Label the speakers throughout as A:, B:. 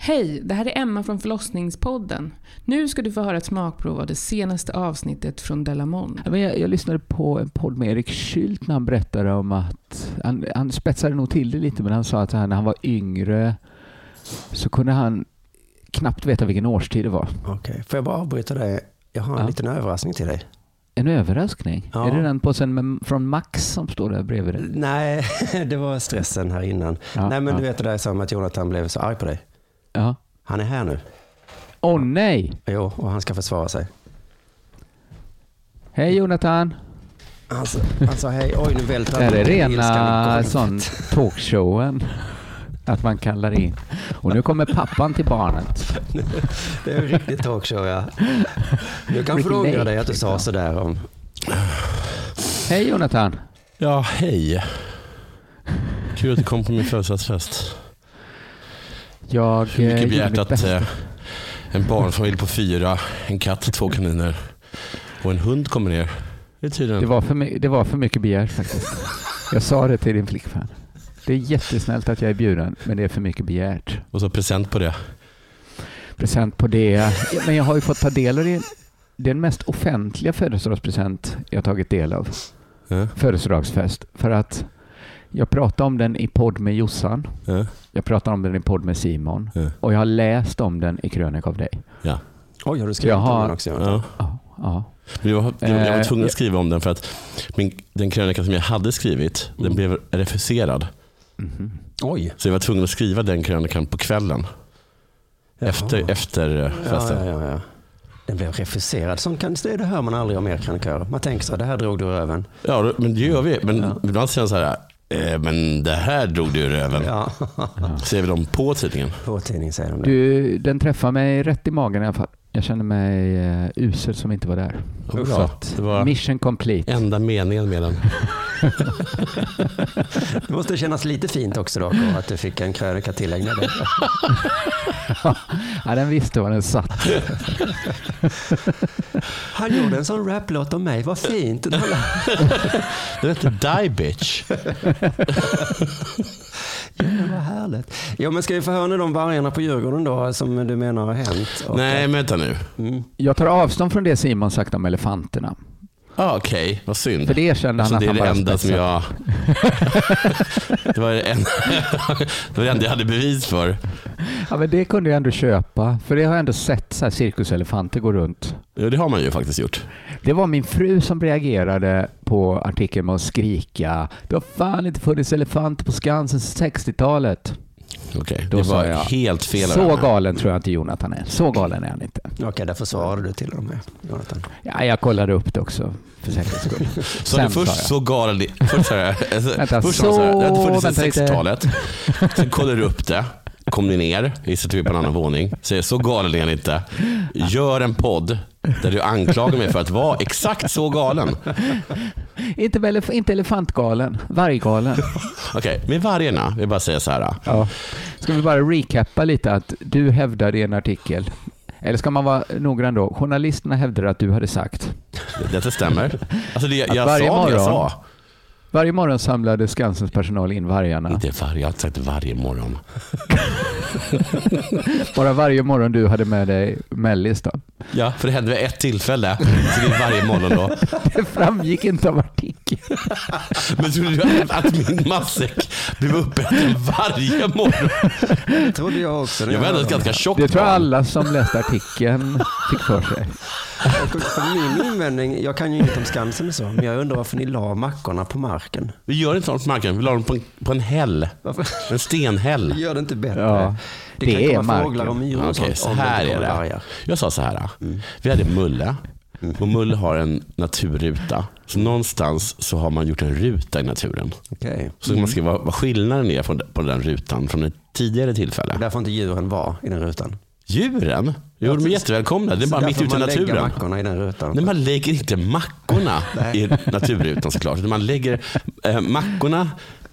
A: Hej, det här är Emma från Förlossningspodden. Nu ska du få höra ett smakprov av det senaste avsnittet från Delamon.
B: Ja, Men jag, jag lyssnade på en podd med Erik Kylt när han berättade om att, han, han spetsade nog till det lite, men han sa att han, när han var yngre så kunde han knappt veta vilken årstid det var.
C: Okej, får jag bara avbryta dig? Jag har en
B: Ja.
C: liten överraskning till dig.
B: En överraskning.
C: Ja.
B: Är det den påsen med, från Max som står där bredvid dig?
C: Nej, det var stressen här innan.
B: Ja,
C: nej, men
B: ja.
C: du vet det där som att Jonathan blev så arg på dig.
B: Ja.
C: Han är här nu.
B: Åh nej!
C: Jo, och han ska försvara sig.
B: Hej Jonathan!
C: Han sa, han sa hej, oj nu välter
B: Det här är
C: ner ilskan i
B: rena
C: golvet.
B: sån talkshowen. Att man kallar in. Och nu kommer pappan till barnet.
C: Det är en riktig talkshow ja. Nu kanske du
B: Riktig
C: ångrar
B: lek,
C: dig att du sa
B: liksom.
C: sådär om...
B: Hej Jonathan!
D: Ja, hej. Kul att du kom på min födelsedagsfest.
B: Jag
D: Hur
B: eh,
D: mycket
B: gjorde
D: begärt
B: mitt
D: att
B: bästa.
D: eh, en barnfamilj på fyra, en katt, två kaniner och en hund kommer ner? Det är tydligen.
B: Det var, för my- det var för mycket begärt faktiskt. Jag sa det till din flickvän. Det är jättesnällt att jag är bjuden, men det är för mycket begärt.
D: Och så present på det.
B: Present på det. Men jag har ju fått ta del av det. Den mest offentliga födelsedagspresent jag tagit del av.
D: Ja,
B: Födelsedagsfest. För att jag pratade om den i podd med Jossan.
D: ja,
B: Jag pratade om den i podd med Simon.
D: Ja.
B: Och jag har läst om den i krönika av dig.
D: ja.
C: Oj, har du skrivit
B: Jaha.
C: om den också? Jonathan?
D: ja.
B: Ja, ja.
D: Men Jag, var, jag, jag var
B: Eh,
D: tvungen
B: ja.
D: att skriva om den för att min, den krönika som jag hade skrivit,
B: Mm.
D: den blev refuserad.
B: Mhm.
C: Oj.
D: Så jag var tvungen att skriva den krönikan på kvällen.
C: Jaha.
D: Efter, efter eh,
C: Ja,
D: festen.
C: ja, ja, ja. Den blev refuserad. Sånt kan, det det hör man aldrig om er krönikörer. Man tänker så, det här drog du ur röven.
D: Ja, då- men det gör vi. Men
C: Ja.
D: ibland säger han så här, eh, men det här drog du ur röven.
C: Ja,
D: Ser vi dem på tidningen.
C: på tidning säger de det.
B: Du, den träffar mig rätt i magen i alla fall. Jag känner mig uh, usel som inte var där.
D: Bra.
B: Så att,
D: Det var
B: Mission complete.
D: enda meningen med den.
C: Det måste kännas lite fint också då, Kåre, att du fick en krönika tillägnad dig.
B: Ja, den visste var den satt.
C: Han gjorde en sån raplåt om mig, vad fint.
D: Den hette Die Bitch.
C: Jävlar, vad härligt. Ja, men ska vi få höra nu de vargarna på Djurgården då, som du menar har hänt? Och-
D: Nej, men vänta nu.
C: Mm.
B: Jag tar avstånd från det Simon sagt om elefanterna.
D: Ah, Okej, vad synd.
B: För det erkände
D: Alltså,
B: han
D: det är
B: att
D: det
B: han bara
D: enda som
B: spetsade.
D: jag... det, var det, enda... det var det enda jag hade bevis för.
B: Ja, men det kunde jag ändå köpa. För det har jag ändå sett så här cirkuselefanter gå runt.
D: Ja, det har man ju faktiskt gjort.
B: Det var min fru som reagerade på artikeln med att skrika Det har fan inte funnits elefanter på Skansen sedan 60-talet.
D: Okej,
B: Då
D: det
B: sa
D: var
B: jag,
D: helt fel. av
B: Så
D: henne.
B: galen tror jag inte Jonathan är. Så galen är han inte.
C: Okej, där försvarade du till och med, Jonathan.
B: Ja, jag kollade upp det också för säkerhets skull.
D: Så du
B: Sen sa
D: först
B: jag.
D: så galen... Först sa jag, alltså,
B: Vänta,
D: först sa jag så här, det hade funnits sedan
B: så- vänta lite.
D: 60-talet. Sen kollar du upp det. Kom ni ner, gissar att vi är på en annan våning. Säger så galen är han inte. Gör en podd där du anklagar mig för att vara exakt så galen.
B: Inte, väl- inte elefantgalen, varggalen.
D: Okej, med vargarna, jag vill bara säga så här.
B: Ja. Ska vi bara recappa lite att du hävdade i en artikel, eller ska man vara noggrann då, journalisterna hävdade att du hade sagt
D: Detta stämmer. Alltså det, jag
B: Att
D: sa det
B: varje
D: jag
B: morgon-
D: sa.
B: varje morgon samlade Skansens personal in vargarna.
D: Inte varje, jag har inte sagt varje morgon.
B: Bara varje morgon du hade med dig mellis då.
D: Ja. För det hände vid ett tillfälle. Så det är varje morgon då.
B: Det framgick inte av artikeln.
D: Men trodde du att min matsäck blev uppäten varje morgon?
C: Det trodde jag också. när
D: Jag var ändå
C: hörde
D: ett
C: om
D: ganska tjockt
B: Det tror jag
D: barn.
B: alla som läste artikeln fick för sig.
C: det. För min invändning, jag kan ju inget om Skansen och så, men jag undrar varför ni la mackorna på marken.
D: Vi gör inte sånt på marken. Vi la dem på en, på en häll.
C: Varför?
D: En stenhäll.
C: Gör det inte bättre.
B: Ja,
C: det,
B: det
C: kan
B: är
C: komma
B: marken.
C: fåglar och myror
D: Ja,
C: och
D: Okej,
C: sånt.
D: så
C: om det
D: här
C: inte
D: är
C: kommer
D: det.
C: vargar.
D: Jag sa så här. Vi hade Mulle. Och Mulle har en naturruta. Så någonstans så har man gjort en ruta i naturen.
C: Okej.
D: Så man skriva vad, vad skillnaden är från, på den rutan från ett tidigare tillfälle.
C: Där får inte djuren vara i den rutan.
D: Djuren? Jo, de är jättevälkomna. Det är
C: Så
D: bara
C: där
D: mitt
C: får
D: ute i
C: man lägga
D: naturen.
C: mackorna i den rutan.
D: Nej, man lägger inte mackorna i naturrutan såklart. Utan man lägger eh, mackorna,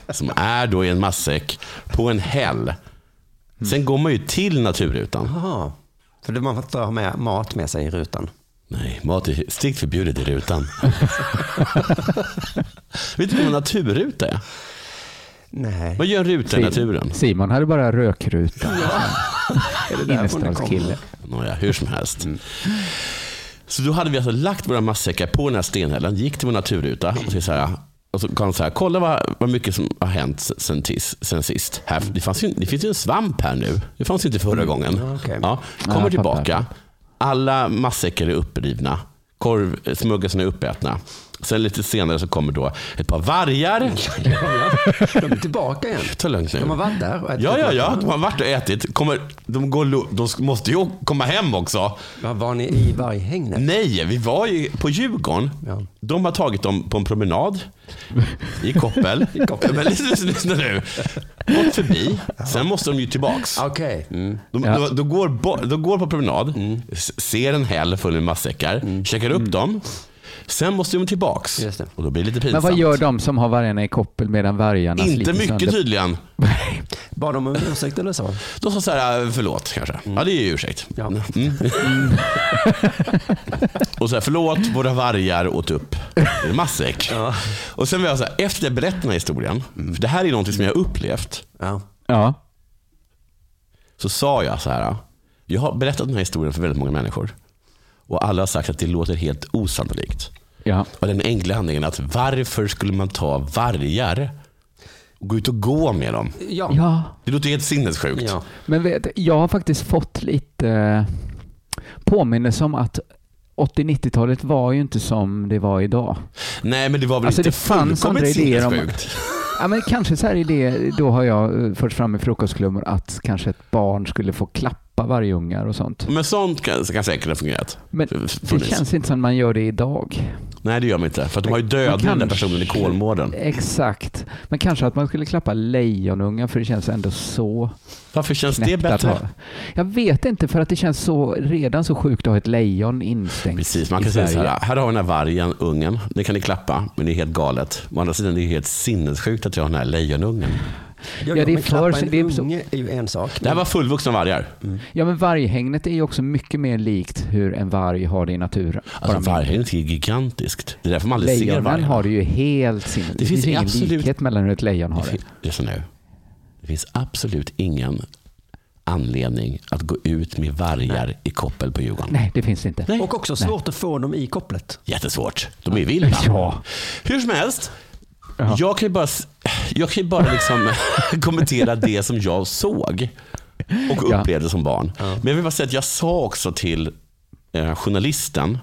D: som är då i en matsäck, på en häll. Sen går man ju till naturrutan.
C: Jaha. För det man får inte ha med mat med sig i rutan.
D: Nej, mat är strikt förbjudet i rutan. Vet du vad en naturruta är?
C: Nej.
D: Man gör en ruta i naturen.
B: Simon hade bara rökruta.
C: därifrån det kommer?
B: Innerstadskille.
D: Nåja, hur som helst.
C: Mm.
D: Så då hade vi alltså lagt våra matsäckar på den här stenhällen, gick till vår naturruta och så, så här, och så kan så här, kolla vad, vad mycket som har hänt sen, sen, tis, sen sist. Här, det, fanns ju, det finns ju en svamp här nu. Det fanns ju inte förra gången.
C: Ja, Mm, okej.
D: Ja,
B: Ja, jag
D: kommer
B: fattar, jag
D: tillbaka. Alla matsäckar är upprivna. Korv, smuggelsen är uppätna. Sen lite senare så kommer då ett par vargar.
C: Mm. De är tillbaka igen.
D: Ta lugnt nu.
C: De har varit där och ätit
D: Ja, ja,
C: upp mackorna.
D: ja. De har varit och ätit. Kommer, de, går, lo- de måste ju komma hem också.
C: Var, var ni i varghägnet?
D: Nej, vi var ju på Djurgården.
C: Ja.
D: De har tagit dem på en promenad i koppel. Men lyssna, lyssna nu. Gått förbi, sen måste de ju tillbaks.
C: Okej. Mm.
D: De,
B: Ja.
D: de, de, går, bo, de går på promenad, s- ser en häll full med matsäckar, käkar upp dem. Sen måste de tillbaks.
C: Just det.
D: Och då blir det lite
B: Men
D: pinsamt.
B: vad gör de Alltså, som har vargarna i koppel medan vargarna
D: Inte
B: sliter
D: mycket typ.
B: sönder?
D: tydligen.
C: Bad de om ursäkt eller så?
D: De sa så här, förlåt kanske. Ja, det är ju ursäkt.
C: Ja.
D: Mm. och så här, förlåt, våra vargar åt upp en matsäck. Och sen var jag så här, efter jag berättade den här historien, för det här är någonting som jag har upplevt,
C: Ja.
B: Ja.
D: så sa jag så här, jag har berättat den här historien för väldigt många människor. Och alla har sagt att det låter helt osannolikt.
B: ja.
D: Och den enkla handlingen att varför skulle man ta vargar och gå ut och gå med dem?
C: Ja.
B: Ja.
D: Det låter helt sinnessjukt.
C: Ja.
B: Men vet, jag har faktiskt fått lite eh, påminnelse om att 80-90-talet var ju inte som det var idag.
D: Nej, men det var väl
B: Alltså,
D: inte
B: det fanns
D: fullkomligt
B: andra idéer om-
D: sinnessjukt.
B: Ja, men kanske så här i det, då har jag eh, fört fram i frukostklummor att kanske ett barn skulle få klappa vargungar och sånt.
D: Men sånt kan, kan säkert ha fungerat.
B: Men det
D: Funnits.
B: känns inte som man gör det idag.
D: Nej det gör man inte. För att de har ju
B: Man
D: dödat
B: kan-
D: den där personen i Kolmården.
B: Exakt. Men kanske att man skulle klappa lejonungar för det känns ändå så
D: Varför känns det
B: knäppt att ha.
D: bättre?
B: Jag vet inte för att det känns så, redan så sjukt att ha ett lejon instängt
D: Precis, man
B: i
D: kan säga så
B: Sverige.
D: här. Här har vi den här vargen, ungen. Det kan ni klappa, men det är helt galet. Å andra sidan, det är helt sinnessjukt att jag har den här lejonungen.
C: Ja,
B: det är
C: men klappa
B: för-
C: en
B: det är så-
C: unge är ju en sak.
D: Det här var fullvuxna vargar. Alltså,
B: Ja men varghägnet är ju också mycket mer likt hur en varg har det i naturen. Bara
D: Alltså
B: mindre.
D: vargen är gigantiskt. Det är därför man aldrig ser
B: Lejonen
D: vargen.
B: har det ju helt sin... Det,
D: finns
B: finns ingen
D: absolut-
B: likhet mellan hur ett lejon
D: Det
B: har det.
D: fin- Lyssna nu. Det finns absolut ingen anledning att gå ut med vargar i koppel på Djurgården.
B: Nej, det finns det inte.
D: Nej.
C: Och också svårt att få dem i kopplet.
D: Jättesvårt. De är vilda.
B: Ja.
D: Hur som helst, jag kan ju bara, s- jag kan ju bara liksom kommentera det som jag såg och
B: Ja.
D: upplevde som barn. Men jag vill bara säga att jag sa också till eh, journalisten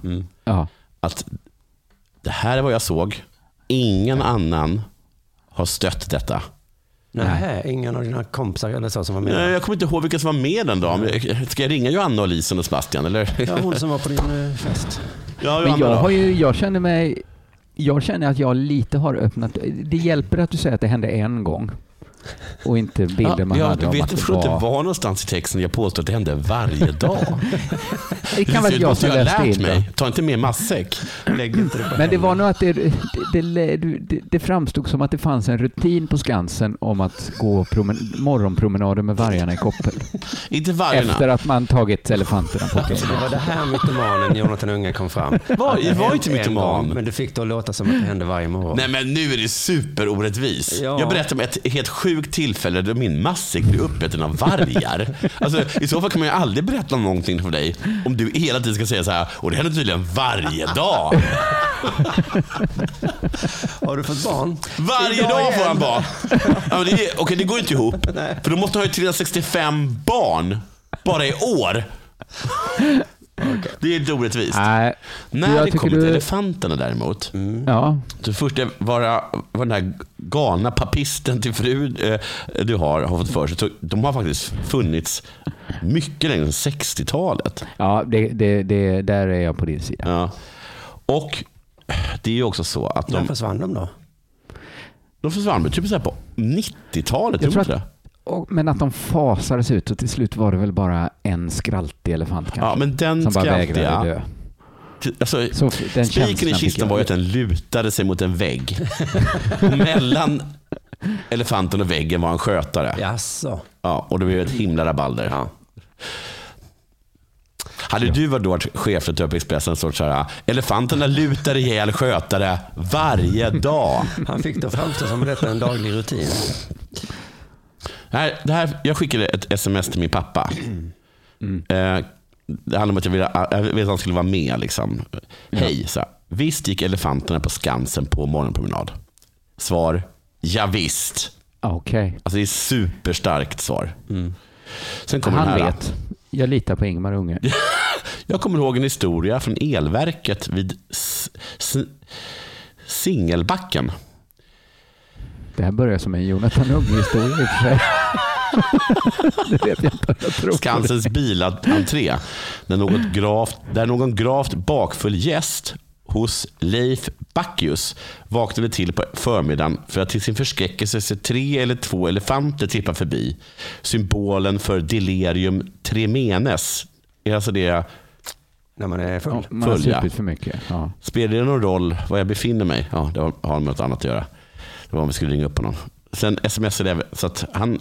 B: Ja.
D: att det här är vad jag såg. Ingen annan har stött detta.
C: Nej, ingen av dina kompisar eller så som var
D: Eh,
C: med.
D: Jag kommer inte ihåg vilka som var med den dagen. men Ska jag ringa Johanna och Lisen och Sebastian? Eller?
C: Ja, hon som var på din eh, fest.
D: Ja,
B: Men
D: Johanna
B: jag,
D: då.
B: har ju, jag känner mig... Jag känner att jag lite har öppnat... Det hjälper att du säger att det hände en gång. Och inte bilden man
D: ja,
B: hade
D: du
B: om
D: vet
B: att det
D: varför det inte
B: var...
D: var någonstans i texten jag påstår att det hände varje dag.
B: Det kan
D: Precis,
B: vara
D: det
B: jag
D: måste
B: som
D: ha
B: läste
D: lärt
B: in det.
D: mig. Ta inte med matsäck.
C: Lägg inte det på
B: Men det var
C: henne.
B: nog att det, det, det, det, det framstod som att det fanns en rutin på Skansen om att gå promen, morgonpromenader med vargarna i koppel.
D: Inte vargarna.
B: Efter att man tagit elefanterna på
C: Så det
B: kvällen.
C: var det här mytomanen Jonathan Unge kom fram.
D: Var-
C: Att det
D: var
C: hände
D: inte
C: en
D: mytoman.
C: gång, Men du fick det att låta som att det hände varje morgon.
D: Nej men nu är det superorättvis.
C: Ja.
D: Jag berättar om ett helt sjukt tillfälle då min matsäck blir uppäten av vargar. Alltså, I så fall kan man ju aldrig berätta någonting för dig om du hela tiden ska säga så här, och det händer tydligen varje dag.
C: Har du fått barn?
D: Varje
C: Idag
D: dag får
C: igen.
D: han barn. Ja, men det, är- okej, det går ju inte ihop. För då måste han ha 365 barn bara i år. Det är inte orättvist.
B: Nej. Du,
D: När
B: jag
D: det
B: tycker
D: kommer till
B: du- Mm.
D: elefanterna däremot.
B: Ja.
D: Så först är- var, eh, var den här galna papisten till fru eh, du har, har fått för sig. Så de har faktiskt funnits mycket längre än 60-talet.
B: Ja, det, det, det, där är jag på din sida.
D: Ja. Och det är ju också så att
C: När
D: de,
C: försvann de då?
D: de försvann väl typ så här på 90-talet.
B: Jag tror
D: gjorde de inte det?
B: Och, men att de fasades ut och till slut var det väl bara en skraltig elefant kanske.
D: Ja, men den
B: som bara
D: skraltiga.
B: vägrade dö.
D: Alltså,
B: Så den
D: Spiken i
B: känslan fick jag.
D: kistan var ju att den lutade sig mot en vägg. Och mellan elefanten och väggen var en skötare. Ja.
C: Jaså?
D: och det blev ett himla rabalder. Hade du varit då varit chef för Töp Expressen så så här, elefanterna lutar ihjäl skötare varje dag.
C: Han fick det att framstå som detta en daglig rutin.
D: Det här, det här, jag skickade ett sms till min pappa.
B: Mm.
D: Eh, det handlade om att jag ville, äh, jag ville att han skulle vara med. Liksom. Hej, så här, visst gick elefanterna på Skansen på morgonpromenad? Svar, ja visst.
B: Ah, Okej.
D: Alltså det är superstarkt svar. Sen kommer den
B: Mm. Han
D: här.
B: vet. Jag litar på Ingmar Unge.
D: Jag kommer ihåg en historia från elverket vid S- S- Singelbacken.
B: Det här börjar som en Jonathan Unge-historia i och för sig. det vet jag inte om jag tror.
D: Skansens bilentré. Där, något gravt, där någon gravt bakfull gäst hos Leif Bacchius vaknade till på förmiddagen för att till sin förskräckelse se tre eller två elefanter trippa förbi. Symbolen för delirium tremenes. Alltså det
C: När man är full.
B: Ja, Man har
D: Följa.
B: supit för mycket. Ja.
D: Spelar det någon roll var jag befinner mig? Ja, det har- har med något annat att göra. Det var om vi skulle ringa upp honom. Sen smsade jag, så att han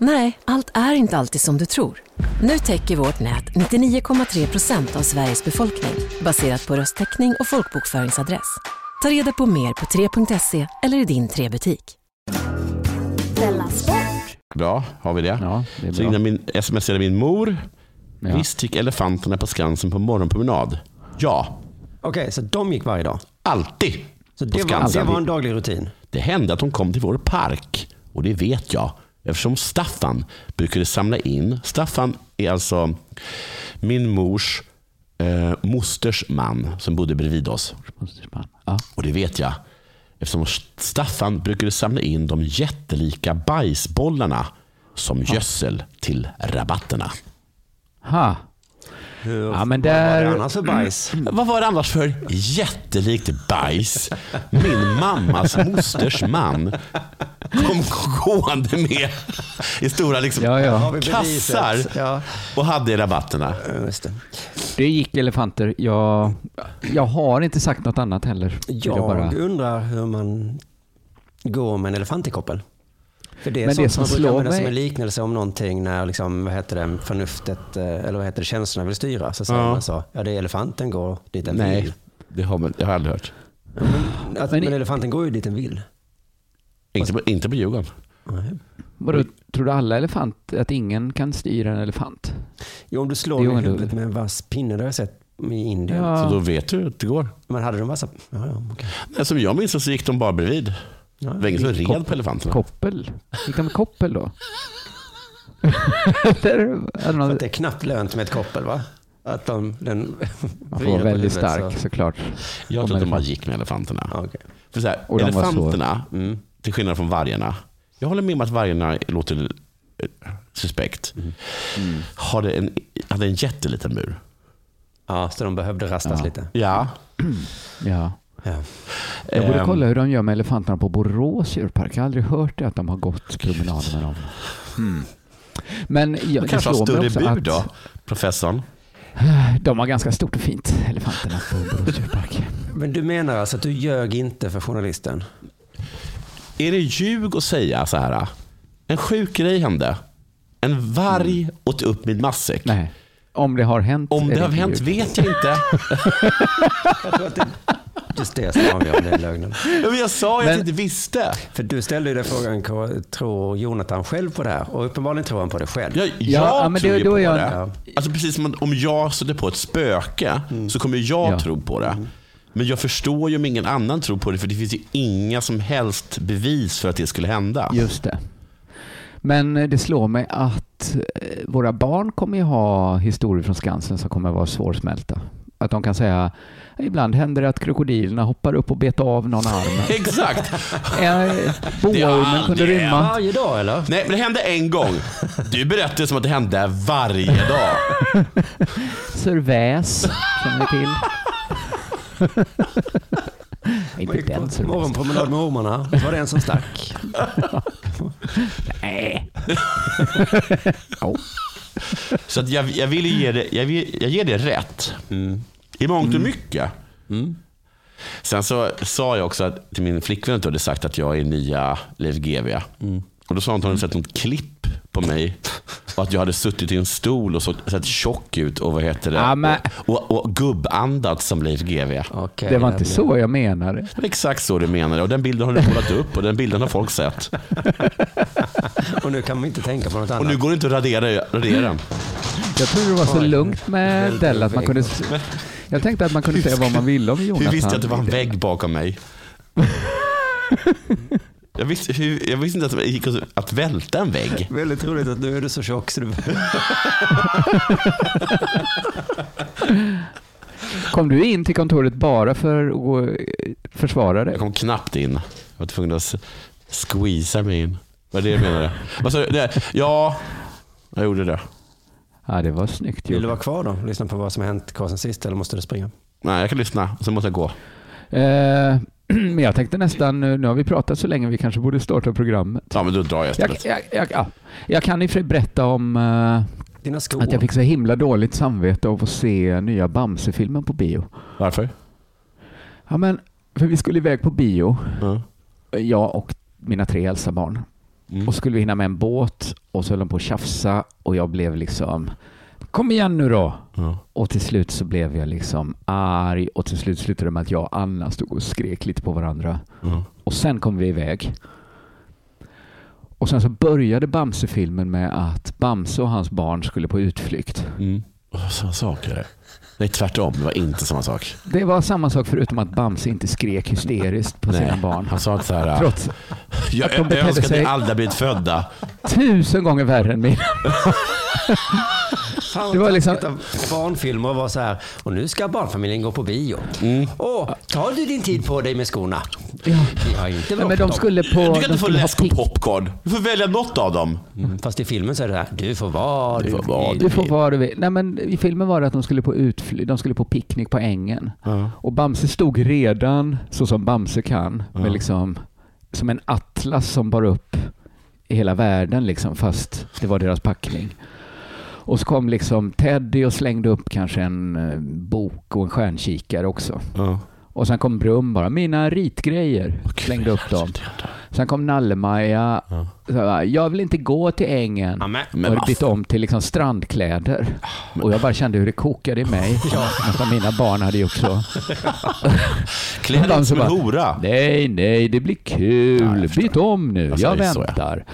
E: Nej, allt är inte alltid som du tror. Nu täcker vårt nät 99,3 procent av Sveriges befolkning baserat på röstteckning och folkbokföringsadress. Ta reda på mer på 3.se eller i din 3-butik.
D: Bra, har vi det.
B: Ja, det är
D: Så
B: bra.
D: innan min, smsade min mor.
B: Ja.
D: Visst gick elefanterna på Skansen på morgonpromenad? Ja,
C: Okej, så de gick varje dag.
D: alltid
C: Så
D: på
C: det var, det
D: Skansen.
C: var en daglig rutin.
D: Det hände att de kom till vår park och det vet jag eftersom Staffan brukade samla in. Staffan är alltså min mors eh, mosters man som bodde bredvid oss.
B: Ja.
D: Och det vet jag eftersom Staffan brukade samla in de jättelika bajsbollarna som gödsel till rabatterna.
B: Ha. Ja, men
C: Vad är det
B: där...
C: annars för bajs?
D: Vad var det annars för jättelikt bajs min mammas mosters man kom gående med i stora liksom
B: Ja,
C: Har
B: ja.
C: vi beviset?
D: kassar
C: Ja,
D: och hade i rabatterna.
C: just det.
B: Det gick elefanter. Jag, jag har inte sagt något annat heller. Vill
C: Jag
B: jag bara...
C: undrar hur man går med en elefant i koppel. För det är
B: Men
C: sånt
B: det
C: som man
B: som
C: brukar
B: slår
C: använda som
B: mig-
C: en liknelse om någonting när liksom, vad heter det, förnuftet, eh, eller vad heter det, känslorna vill styra. Så säger
D: Ja.
C: man så. Ja, det är elefanten går dit den
D: Nej,
C: vill.
D: det har, man, det har jag aldrig hört.
C: Att, men,
B: Men-
C: elefanten går ju dit den vill.
D: Inte på, inte på Djurgården.
C: Nej.
B: Vadå, tror du alla elefant, att ingen kan styra en elefant?
C: Jo, om du slår
B: Det är
C: i
B: ändå-
C: huvudet med en vass pinne, det har jag sett i Indien.
D: Så
B: Ja.
D: då vet du att det går.
C: Men hade de vassa... Ja, ja, okej.
D: Nej, Som jag minns så gick de bara bredvid.
C: Ja.
D: Det var ingen som red på elefanterna.
B: Koppel? Gick de med koppel då? Eller, är det
C: För
B: någon-
C: att det är knappt lönt med ett koppel va? Att de, den
B: Man får vara väldigt stark såklart.
D: Jag
B: Om
D: tror att de
B: elefant-
D: bara gick med elefanterna. För så här,
B: Och de var så-
D: elefanterna,
C: Mm.
D: till skillnad från vargarna. Jag håller med om att vargarna låter eh, suspekt.
B: Mm.
D: Hade, en, hade en jätteliten mur.
C: Ja, så de behövde rastas lite.
D: Ja.
B: Ja. Jag borde
D: Ehm.
B: kolla hur de gör med elefanterna på Borås djurpark. Jag har aldrig hört det, att de har gått promenader med dem. Men jag,
D: Hmm. De
B: det
D: kanske har
B: slår mig
D: större
B: också
D: bur
B: att-
D: då, professorn.
B: De har ganska stort och fint, elefanterna på Borås djurpark.
C: Men du menar alltså att du ljög inte för journalisten?
D: Är det ljug att säga så här? En sjuk grej hände. En varg åt upp min matsäck.
B: Mm. Nej. Om det har hänt.
D: Om
B: är
D: det har
B: inte
D: hänt
B: ljug.
D: vet jag inte.
C: Just det som avgör om det är lögnen.
D: Ja, men jag sa ju att
B: Men-
D: jag inte visste.
C: För du ställde ju den frågan, K- tror Jonathan själv på det här? Och uppenbarligen tror han på det själv.
D: Jag,
B: Ja, ja,
D: jag
B: men
D: tror
B: det-
D: ju
B: då
D: på
B: är jag-
D: det. Alltså precis som att om jag sätter på ett spöke så kommer jag
B: Mm. Ja.
D: tro på det. Men jag förstår ju om ingen annan tror på det för det finns ju inga som helst bevis för att det skulle hända.
B: Just det. Men eh, det slår mig att eh, våra barn kommer ju ha historier från Skansen som kommer vara svårsmälta. Att de kan säga, ibland händer det att krokodilerna hoppar upp och bet av någon arm.
D: Exakt.
B: Eh, Boaormen kunde
D: aldrig
B: rymma.
C: Varje dag eller?
D: Nej, men det hände en gång. Du berättade som att det hände varje dag.
B: Surväs känner vi till.
C: Jag
B: Inte
C: gick
B: den
C: på
B: Surväs.
C: morgonpromenad med ormarna. Det var det en som stack.
B: Nej. Jo.
D: Så att jag, jag vill ju ge det, jag, vill, jag ger det rätt. I mångt
B: Mm.
D: och mycket. Sen så sa jag också att, till min flickvän att du hade sagt att jag är nya Leif GW. Och då sa hon att hon hade sett något klipp på mig och att jag hade suttit i en stol och så, sett tjock ut och vad heter det?
B: Ja, men-
D: och, och, och gubbandat som Leif GW.
C: Okej,
B: Det var
C: där
B: inte
C: blev-
B: så jag menade.
D: Det var exakt så du menade och den bilden har du målat upp och den bilden har folk sett.
C: Och nu kan man inte tänka på något annat.
D: Och nu går det inte att radera, radera den.
B: Jag trodde det var så
C: Oj.
B: lugnt med
C: Väldigt
B: Dell att man kunde...
C: vägg.
B: Jag tänkte att man kunde säga vad man ville om Jonathan.
D: Hur visste jag att det var en vägg bakom mig? Jag visste, hur, jag visste inte att det gick att- att välta en vägg.
C: Väldigt roligt att nu är du så tjock så du...
B: Kom du in till kontoret bara för att gå, eh, försvara dig?
D: Jag kom knappt in. Jag var tvungen att s- squeeza mig in. Vad är det jag menade? Vad sa du? Det- Ja, jag gjorde det.
B: Ja, det var snyggt
C: Vill du
B: gjort.
C: vara kvar då? Lyssna på vad som har hänt kvar sen sist eller måste du springa?
D: Nej, jag kan lyssna. Sen måste jag gå.
B: Eh, Men jag tänkte nästan, eh, nu har vi pratat så länge, vi kanske borde starta programmet.
D: Ja, men då drar jag
B: Jag,
D: istället.
B: jag, jag, ja. jag kan i och för sig berätta om eh,
C: Dina skor.
B: att jag fick så himla dåligt samvete av att se nya Bamse-filmen på bio.
D: Varför?
B: Ja, men, för vi skulle iväg på bio,
D: Ja.
B: jag och mina tre äldsta barn.
D: Mm.
B: Och skulle vi hinna med en båt och så höll de på att tjafsa och jag blev liksom, kom igen nu då.
D: Ja.
B: Och till slut så blev jag liksom arg och till slut slutade det med att jag och Anna stod och skrek lite på varandra.
D: Ja.
B: Och sen kom vi iväg. Och sen så började Bamse-filmen med att Bamse och hans barn skulle på utflykt.
D: Mm. Åh, Samma sak är det. Nej, tvärtom. Det var inte samma sak.
B: Det var samma sak förutom att Bamse inte skrek hysteriskt på sina
D: Nej.
B: barn.
D: Han sa att så här,
B: Trots
D: jag,
B: att de
D: jag,
B: betedde
D: önskar att ni
B: sig-
D: aldrig hade blivit födda.
B: tusen gånger värre än mina.
C: Fan,
B: det var liksom-
C: taskigt av Barnfilmer var så här, och nu ska barnfamiljen gå på bio. Åh, tar du din tid på dig med skorna?
B: Mm. Ja.
C: Vi har inte
B: Nej, men
C: bråttom.
B: de skulle på...
D: Du
B: de
D: kan inte få
B: skulle ha
D: läsk och
B: pick-
D: popcorn. Du får välja något av dem.
C: Mm, Fast i filmen så är det här, du får vara
D: Du får vara
C: vill.
B: Du får vad du vill. Nej, men I filmen var det att de skulle på, utfly- de skulle på picknick på ängen. Och Bamse stod redan så som Bamse kan, med liksom, som en atlas som bar upp hela världen, liksom, fast det var deras packning. Och så kom liksom Teddy och slängde upp kanske en eh, bok och en stjärnkikare också.
D: Ja.
B: Och sen kom Brum bara, mina ritgrejer, slängde upp dem. Sen kom Nallemaja, så här, jag vill inte gå till ängen.
C: Amen.
D: Men alltså-
B: och
D: vad
B: hade bytt om till liksom strandkläder. Och jag bara kände hur det kokade i mig. Nästan mina barn hade gjort så.
D: Klä dig
B: Bamse
D: inte som en
B: bara,
D: hora.
B: Nej, nej, det blir
D: Ja, jag
B: kul.
D: förstår.
B: Byt om nu.
D: Alltså,
B: jag
D: det är så, ja.
B: väntar.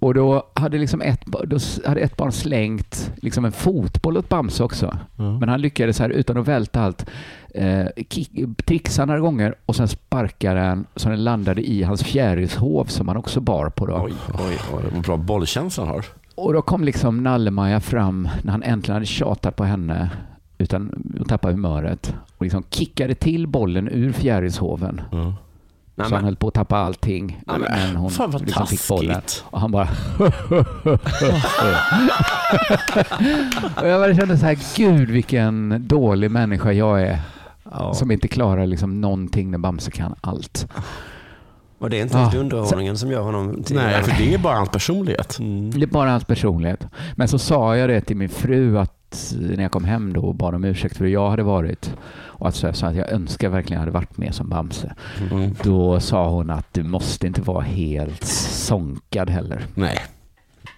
B: Och då hade, liksom ett, ba- då s- hade ett barn slängt liksom en fotboll åt Bamse också. Men han lyckades här utan att välta allt eh, kick, trixa några gånger och sen sparkade den så den landade i hans fjärilshov som han också bar på. Då.
D: Oj, oj, oj. Vad bra bollkänsla han har.
B: Och då kom liksom Nallemaja fram när han äntligen hade tjatat på henne utan att tappa humöret och liksom kickade till bollen ur fjärilshoven. Så
C: Nej,
B: han
C: men-
B: höll på att tappa allting. men hon
D: fan vad
B: liksom fick bollen.
D: taskigt.
B: Och han bara... och jag bara kände så här, gud vilken dålig människa jag är. Som inte klarar liksom någonting när Bamse kan allt.
C: Och det är inte ens
B: Ja.
C: underhållningen som gör honom till... Mm.
D: Nej, Mm. för det är bara hans personlighet.
B: Det är bara hans personlighet. Men så sa jag det till min fru att när jag kom hem då och bad om ursäkt för hur jag hade varit och att så jag sa att jag önskar verkligen jag hade varit med som Bamse.
D: Mm.
B: Då sa hon att du måste inte vara helt sånkad heller.
D: Nej.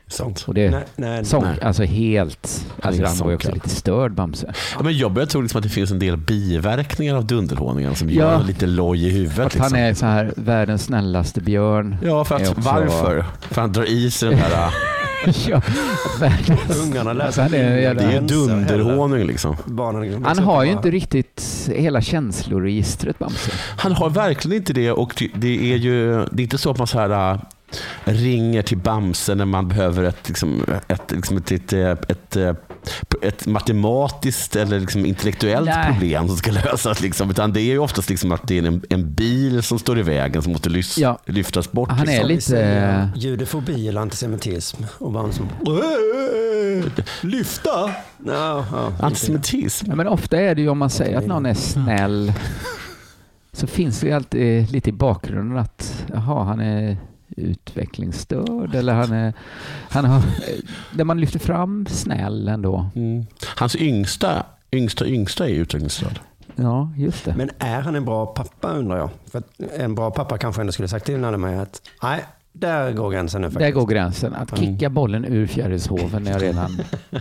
D: Sant.
B: Och det,
C: Nej, nej,
B: sånk,
D: nej.
B: alltså helt,
D: är
B: alltså han var ju också
D: sånkad.
B: lite störd Bamse.
D: Ja, men jag börjar tro liksom att det finns en del biverkningar av dunderhåningen som
B: Ja.
D: gör en lite loj i huvudet.
B: Att
D: liksom.
B: han är så här världens snällaste björn.
D: Ja, för
B: är
D: att,
B: också-
D: varför? För han drar i sig den här...
B: ja, världens,
C: Ungarna lär
B: alltså han är en
D: det
B: jävla-
D: är ju dunderhåning liksom.
C: Barnen
B: Han har ju inte riktigt hela känsloregistret Bamse.
D: Han har verkligen inte det och det- det är ju det är inte så att man så här, äh, ringer till Bamse när man behöver ett, liksom, ett, liksom ett, ett, eh, ett, eh, ett matematiskt eller liksom intellektuellt
B: Nej.
D: problem som ska lösas. Liksom. Utan det är ju oftast liksom att det är en, en bil som står i vägen som måste lys,
B: Ja.
D: lyftas bort.
B: Han är
D: liksom.
B: lite...
C: Judefobi eller antisemitism. Och bara som...
D: liksom.
C: Lyfta! No, ja,
D: Antisemitism.
B: Ja, men ofta är det ju om man säger att någon är snäll så finns det ju alltid lite i bakgrunden att jaha, han är utvecklingsstörd eller han är... Han har, där man lyfter fram snäll ändå.
D: Mm. Hans yngsta, yngsta, yngsta är utvecklingsstörd.
B: Ja, just det.
C: Men är han en bra pappa undrar jag? För att en bra pappa kanske ändå skulle sagt till när mig att nej, där går gränsen nu
B: Där
C: faktiskt.
B: går gränsen. Att
D: Mm.
B: kicka bollen ur fjärilshoven när jag redan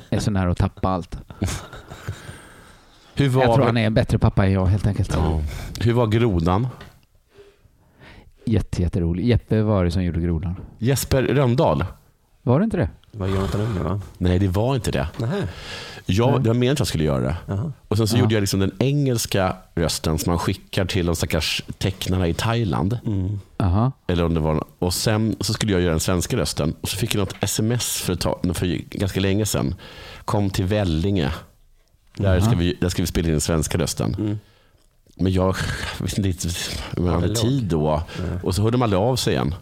B: är så nära att tappa allt.
D: Hur
B: Jag tror
D: var,
B: han är en bättre pappa än jag helt enkelt.
D: Ja. hur var grodan?
B: Jätte, jätterolig. Jeppe var det som gjorde grodan.
D: Jesper Röndahl?
B: Var det inte det?
C: Det var Jonathan Unge va?
D: Nej, det var inte det.
C: Nähä.
D: Jag, det var meningen att jag skulle göra det.
C: Jaha.
D: Och sen så gjorde jag liksom den engelska rösten som man skickar till de stackars tecknarna i Thailand.
C: Mm.
B: Aha.
D: Eller om det var, och sen så skulle jag göra den svenska rösten. Och så fick jag något sms för, ett tag, för ganska länge sedan. Kom till Vellinge. Där ska, vi, där ska vi spela in den svenska rösten. Men jag visste inte riktigt om jag hade
C: låg.
D: tid då. Och så hörde man aldrig av sig igen.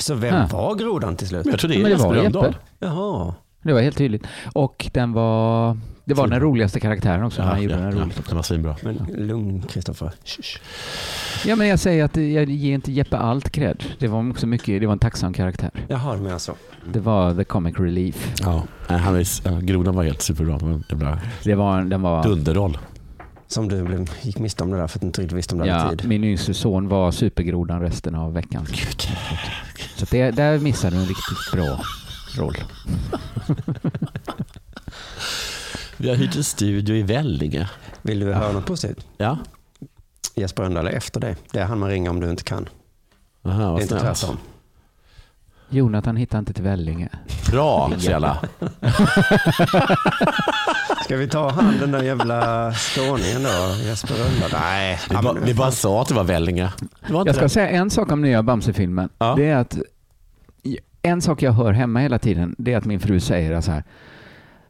C: Så vem
B: Ah.
C: var grodan till slut?
D: Men jag tror det är
B: Men det var
D: Jesper Rönndahl.
B: Jeppe.
C: Jaha.
B: Det var helt tydligt. Och den var, det var den roligaste karaktären också.
D: Ja,
B: han gjorde
D: ja,
B: den
D: ja,
B: roligt.
D: det var svinbra.
C: Men lugn Kristoffer. Shh.
B: Ja, men jag säger att jag ger inte Jeppe allt cred. Det var också mycket, det var en tacksam karaktär.
C: Jaha, du menar så.
B: Det var the comic relief.
D: Ja, nej, han är, ja, grodan var helt superbra. Men det var
B: Det var, den var,
D: dunderroll.
C: Som du blev, gick miste om det där för att du inte riktigt visste om det
B: ja,
C: hade tid.
B: min yngste son var supergrodan resten av veckan. Så att det, där missade hon en riktigt bra roll.
D: Vi har hyrt en studio i Vellinge.
C: Vill du höra något positivt?
D: Ja.
C: Jesper Rönndahl är efter dig. Det är han man ringer om du inte kan.
D: Aha,
C: Det
D: vad
C: är inte
D: snällt.
C: tvärtom.
B: Jonathan hittade inte till Vellinge.
D: Bra, säger alla.
C: Ska vi ta han den där jävla skåningen då? Jesper Rönndahl? Nej.
D: Vi, bara, vi bara sa att det var Vellinge. Det var inte
B: Jag ska
D: det.
B: säga en sak om nya Bamse-filmen.
D: Ja.
B: Det är att en sak jag hör hemma hela tiden, det är att min fru säger så här.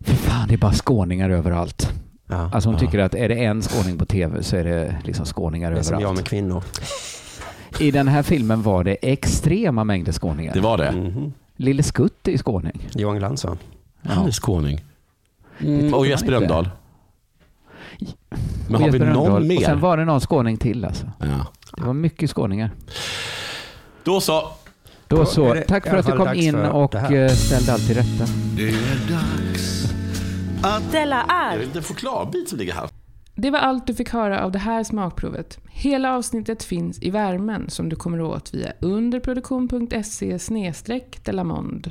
B: Fy fan, det är bara skåningar överallt.
C: Ja.
B: Alltså hon tycker att är det en skåning på tv så är det liksom skåningar
C: Det är som jag
B: överallt.
C: med kvinnor.
B: I den här filmen var det extrema mängder skåningar.
D: det var det.
C: Mhm.
B: Lille Skutt är ju skåning.
C: Johan Glans va?
D: Han är skåning. Mm, och Jesper
B: inte.
D: Rönndahl. Men
B: Och
D: har vi
B: Jesper Rönndahl.
D: någon
B: Och sen
D: mer?
B: var det någon skåning till alltså.
D: Ja.
B: Det var mycket skåningar.
D: Då så.
B: Då
C: Då
B: så,
C: är det
B: tack
C: i
B: för
C: alla
B: att du
C: fall
B: kom
C: dags
B: in
C: för
B: och
C: det här.
B: eh, ställde allt till rätta.
F: Della
D: Det
F: är.
D: är en chokladbit som ligger här.
A: Det var allt du fick höra av det här smakprovet. Hela avsnittet finns i värmen som du kommer åt via underproduktion.se delamond.